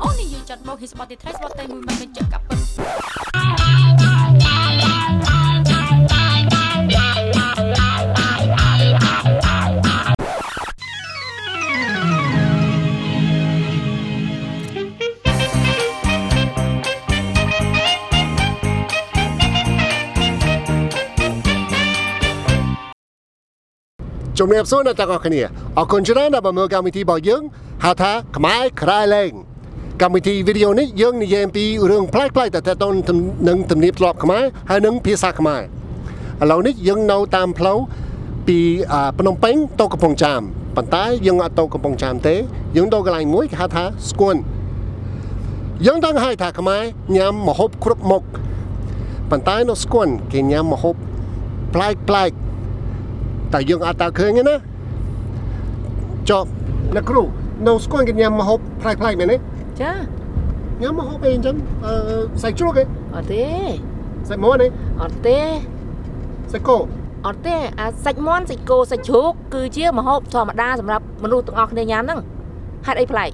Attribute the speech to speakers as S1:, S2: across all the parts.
S1: ហ៊ីស្បតទីត្រៃស្បតតែមួយមិនបញ្ជាក់កាប់
S2: ជំរាបសួរអ្នកទាំងអស់គ្នាអរគុណច្រើនដែលបានមើលកម្មវិធីរបស់យើងហៅថាខ្មែរក្រៃលែងកម្មវិធីវីដេអូនេះយើងនិយាយអំពីរឿងប្លែកៗតែទាក់ទងនឹងទំនៀមទម្លាប់ខ្មែរហើយនិងភាសាខ្មែរឥឡូវនេះយើងនៅតាមផ្លូវពីអ่าភ្នំពេញទៅកំពង់ចាមប៉ុន្តែយើងអត់ទៅកំពង់ចាមទេ យើងទៅកន្លែងមួយគេហៅថាស្គួនយើងដឹងហើយថាខ្មែរញ៉ាំម្ហូបគ្រប់មុខប៉ុន្តែនៅស្គួនគេញ៉ាំម្ហូបប្លែកៗ តែយើងអត់តើឃើញទេណាចប់អ្នកគ្រូនៅស្គនគេញ៉ាំម្ហូបផ្លែផ្លែមែនទេ
S3: ចា
S2: ញ៉ាំម្ហូបអីអញ្ចឹងអឺសាច់ជ្រូកទេ
S3: អត់ទេ
S2: សាច់មាន់ទេ
S3: អត់ទេ
S2: សាច់គោ
S3: អត់ទេអាសាច់មាន់សាច់គោសាច់ជ្រូកគឺជាម្ហូបធម្មតាសម្រាប់មនុស្សទាំងអស់គ្នាញ៉ាំហ្នឹងហេតុអីប្លែក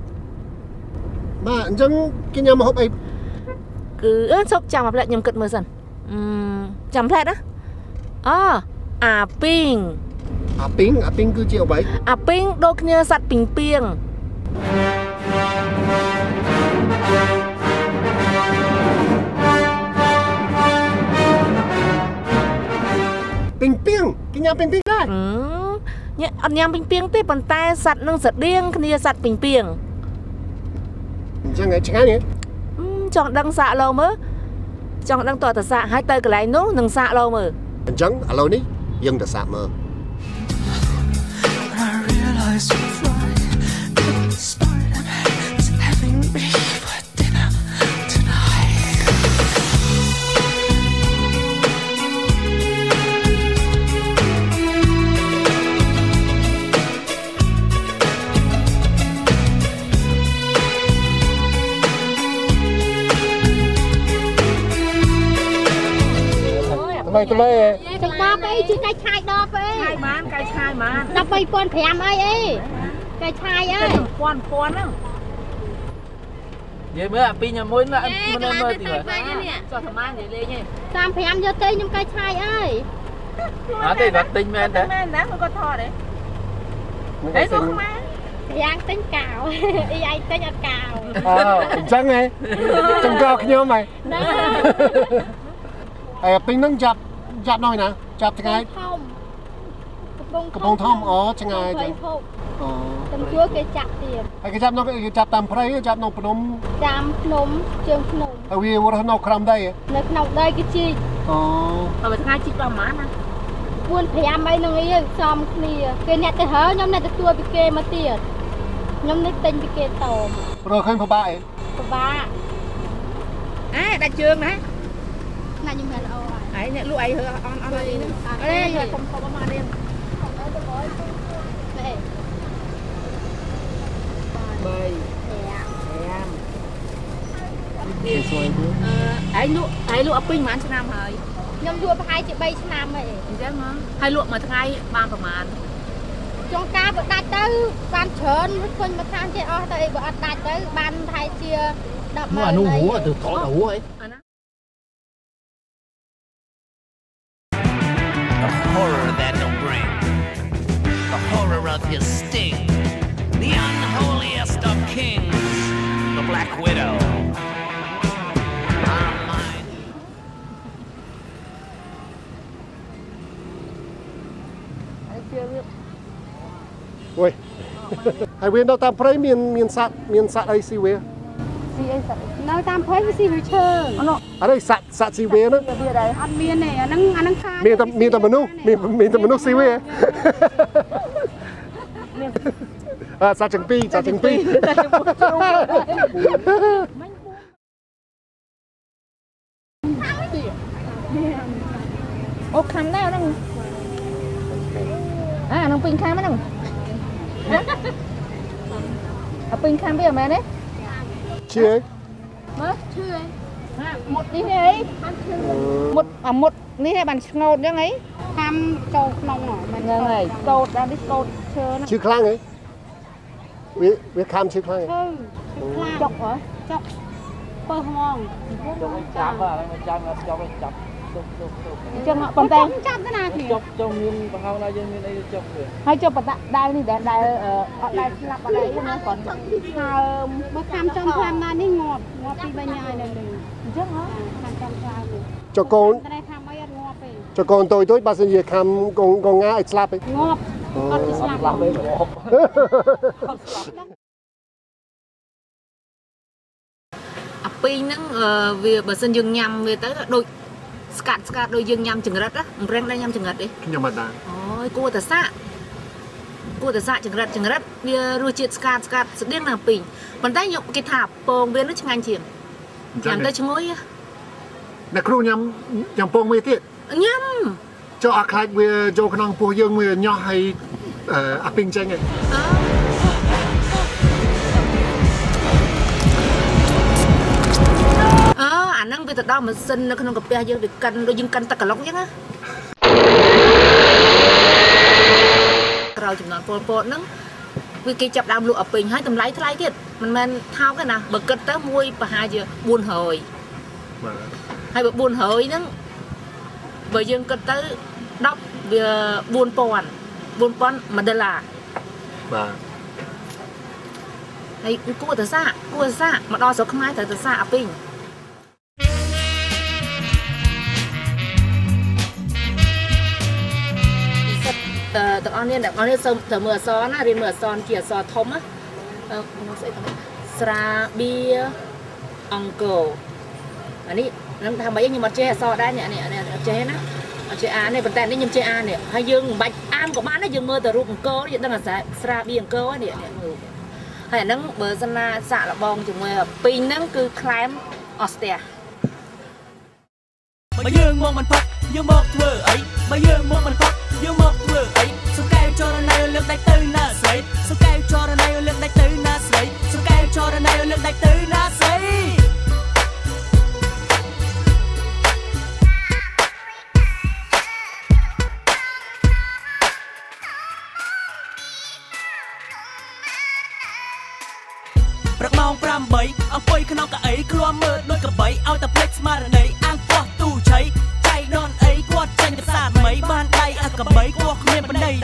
S2: បាទអញ្ចឹងគេញ៉ាំម្ហូបអី
S3: គឺអឺសុកចាំអាផ្លែកខ្ញុំគិតមើលសិនអឺមចាំផ្លែកណាអូអាពីង
S2: អាពីងអាពីងគឺជាអ្វី
S3: អាពីងដូចគ្នាសัตว์ពីងពីង
S2: ពីងពីងគេញ៉ាំពីងពីងដែរ
S3: អឺមញ៉ាំអត់ញ៉ាំពីងពីងទេប៉ុន្តែសัตว์នឹងស្រដៀងគ្នាសัตว์ពីងពីង
S2: អញ្ចឹងឯងឆ្ងាញ់ទេ
S3: អឺមចង់ដឹងសាកលោមើលចង់ដឹងតើតើសាកហើយទៅកន្លែងនោះនឹងសាកលោមើល
S2: អញ្ចឹងឥឡូវនេះយើងទៅសាកមើល
S4: When I realized you fly, in spite of it's having me for dinner tonight.
S2: ថ្មីថ្មី
S5: កាច់បបអីជាកាច់ឆាយដបអី
S3: ឆាយម៉ានកាយឆាយម៉ាន
S5: 13500អីអីកាច់ឆាយអើយ
S3: ពាន់ពាន់ហ្នឹង
S6: និយាយមើលអាពីរញ៉ាំមួយណាមើលមើលទីមើល
S3: ចុះតាមនិយាយលេងឯង
S5: 35យកទៅខ្ញុំកាច់ឆាយអើយ
S6: អត់ទេគាត់ទិញមែនតើ
S3: មែនណាគាត់ថតឯង
S2: អីហ្នឹង
S5: យ៉ាងទិញកៅ អីឯងទិញអត់កៅ
S2: អូអញ្ចឹងឯងចំកោខ្ញុំឯង
S5: ណា
S2: អាពីងហ្នឹងចាប់ចាប់ណយណាចាប់ថ្ងៃ
S5: ធំកំពុង
S2: កំពង់ធំអូឆ្ងាយ
S5: ចា
S2: ចា៎ អូ
S5: តំជួរគេចាក់ទៀត
S2: ហើយគេចាប់នៅគេចាប់តាមព្រៃគេចាប់នៅភ្នំ
S5: តាមភ្នំជើងភ្នំ
S2: ហើយវារស់នៅក្រំដីឯង
S5: នៅក្នុងដីគេជីក
S2: អូ
S3: តែមួយថ្ងៃជីកប្រហែលណា
S5: 4 5អីនឹងអីឯងសំគ្នាគេអ្នកទៅហើខ្ញុំអ្នកទទួលពីគេមកទៀតខ្ញុំនេះទិញពីគេតម
S2: រកឃើញពិបាកអី
S5: ពិបាក
S3: អេដាក់ជើងណា
S5: ណាស់ខ្ញុំមិនល្អហើយ
S3: ឯងអ្នកលក់ឯងហឺអន់អន់អីហ្នឹងអេយកកុំកុំមករៀន
S2: គេស្វែងទៅ
S3: អឺឯងលក់ឯងលក់អពេញប្រហែលឆ្នាំហើយ
S5: ខ្ញុំយូរប្រហែលជា3ឆ្នាំហើយ
S3: អញ្ចឹងហ៎ហើយលក់មួយថ្ងៃបានប្រហែល
S5: ចុងការបើដាច់ទៅបានច្រើនឃើញមកខាងគេអស់ទៅអីបើអត់ដាច់ទៅបានថៃជា10ម៉ឺនអានោះហួរទៅ
S2: ថតអាវអី
S3: អាណា
S7: The horror that'll bring. The horror of your sting. The unholiest of kings. The Black Widow. Our mind.
S2: អូយ ហើយវានៅតាមព្រៃមានមានសត្វមានសត្វអីស៊ីវា
S5: ស៊ីអីសោះនៅតាមភ័យវាស៊ីវាឈើ
S2: អរិសត្វសត្វស៊ីវាហ្នឹង
S5: វាដែរអត់មានទេអាហ្នឹងអាហ្នឹងខា
S2: មានតែមានតែមនុស្សមានមានតែមនុស្សស៊ីវា អ่าសត្វចង្ពីសត្វចង្ពី
S5: អូខាំដែរអាហ្នឹងអាអាហ្នឹងពេញខាំហ្នឹងអាពេញខាំវាអត់មែនទេ
S2: ជឿ
S5: មើលឈើឯងមុតនេះឯង
S2: មុត
S3: អាមុតនេះបានស្ងោតអញ្ចឹងហី
S5: ខាំចូលក្នុងហ្មងមិន
S3: ហ្នឹងហើយស្កោតដល់នេះស្កោតឈើ
S2: ជឿខ្លាំងហ៎វាវាខំជឿខ្លាំងហ៎
S5: ឈើខ្លាំងចុកហ៎ចុក ពើហ្មង
S6: ចុះឲ្យចាប់អាឲ្យចាំអត់ចុះឲ្យចាប់ទុកទុកទុក
S5: អញ្ចឹងប៉ុន្តែចាប់ទៅណាគ្នា
S6: ចុះចុះមានបង្ហោណាយើងមានអីចុះវា
S5: ហើយចុះបដាក់ដៅនេះដែលដែលអឺអត់ដែលស្លាប់អត់អីណាគាត់ហើមបើខាំចំខ្លាំណានេះងាប់ងាប់ពីបញ្ញាហើយនៅលើអញ្ចឹងហ៎ខាំចំខ្លាំនេះ
S2: ចុះកូន
S5: តែខាំអីអត់ងាប់ទេ
S2: ចុះកូនតូចតូចបើសិនជាខំកងកងងាឲ្យស្លាប់ឯង
S5: ងាប់អត់ទៅស្លាប់
S3: អាពីងហ្នឹងអឺវាបើសិនយើងញ៉ាំវាទៅដូចស្កាត់ស្កាត់ដូចយើងញ៉ាំចង្រិតណាអង្រឹងដែរញ៉ាំចង្រិតទេ
S2: ខ្ញុំអត់ដឹង
S3: អូយគួរតែសាក់គួរតែសាក់ចង្រិតចង្រិតវារសជាតិស្កាត់ស្កាត់ស្តៀងណាស់អាពីងប៉ុន្តែយកគេថាពងវានឹងឆ្ងាញ់ជាង
S2: អញ្ចឹ
S3: ញ៉ាំ
S2: ង
S3: ទៅឈ្ងុយ
S2: អ្នកគ្រូញ៉ាំញ៉ាំពងមួយទៀត
S3: ញ៉ាំ
S2: ចុះអត់ខ្លាចវាចូលក្នុងពោះយើងវាញ៉ោះហើយអឺអាពីងចឹងឯង
S3: អឺ អឺអាហ្នឹងវាទៅដល់ម៉ាស៊ីននៅក្នុងកាពះយើងវាកិនដូចយើងកិនទឹកកន្លុកអញ្ចឹងណាក្រោយចំនួនពលពតហ្នឹងវាគេចាប់ដើមលក់ឲ្យពេញហើយតម្លៃថ្លៃទៀតមិនមែនថោកទេណាបើគិតទៅមួយប្រហែលជា400ហើយបើ400ហ្នឹងបើយើងគិតទៅ10វា4000 4000មួយដុល្លារ
S2: បាទ
S3: ហើយគួរតែសាកគួរតែសាកមកដល់ស្រុកខ្មែរត្រូវតែសាកអាពីងពិសេសអឺទាំងអស់នេះអ្នកទាំងអស់នេះសូមត្រូវមើលអក្សរណារៀនមើលអក្សរជាអក្សរធំណាអឺក្នុងស្អីទៅស្រាបៀអង្គរអានេះនឹងថាម៉េចខ្ញុំអត់ចេះអក្សរដែរនេះនេះនេះអត់ចេះណាអត់ចេះអានទេប៉ុន្តែនេះខ្ញុំចេះអាននេះហើយយើងមិនបាច់អានក៏បានដែរយើងមើលតែរូបអង្គរយើងដឹងអាស្រ័យស្រាបៀអង្គរហ្នឹងនេះនេះមើល ហើយអាហ្នឹងបើសិនណាសាក់លបងជាមួយពីងហ្នឹងគឺខ្លែមអស់ស្ទះ
S4: បើយើងមកមិនផឹកយើងមកធ្វើអីបើយើងមកមិនផឹកយើងមកធ្វើអីសុំកែវចរណៃលើកដៃទៅណាស្រីសុំកែវចរណៃលើកដៃទៅណាស្រីសុំកែវចរណៃលើកដៃទៅណាស្រីប្រកម៉ោង8អង្គុយក្នុងកៅអីឃ្លាំមើលដូចកបីឲ្យតែភ្លេចស្មារតីអាងពោះទូឆៃចៃដនអីគាត់ចេញទៅផ្សារថ្មីបានដៃអាកបីគាត់គ្មានបណ្ដៃ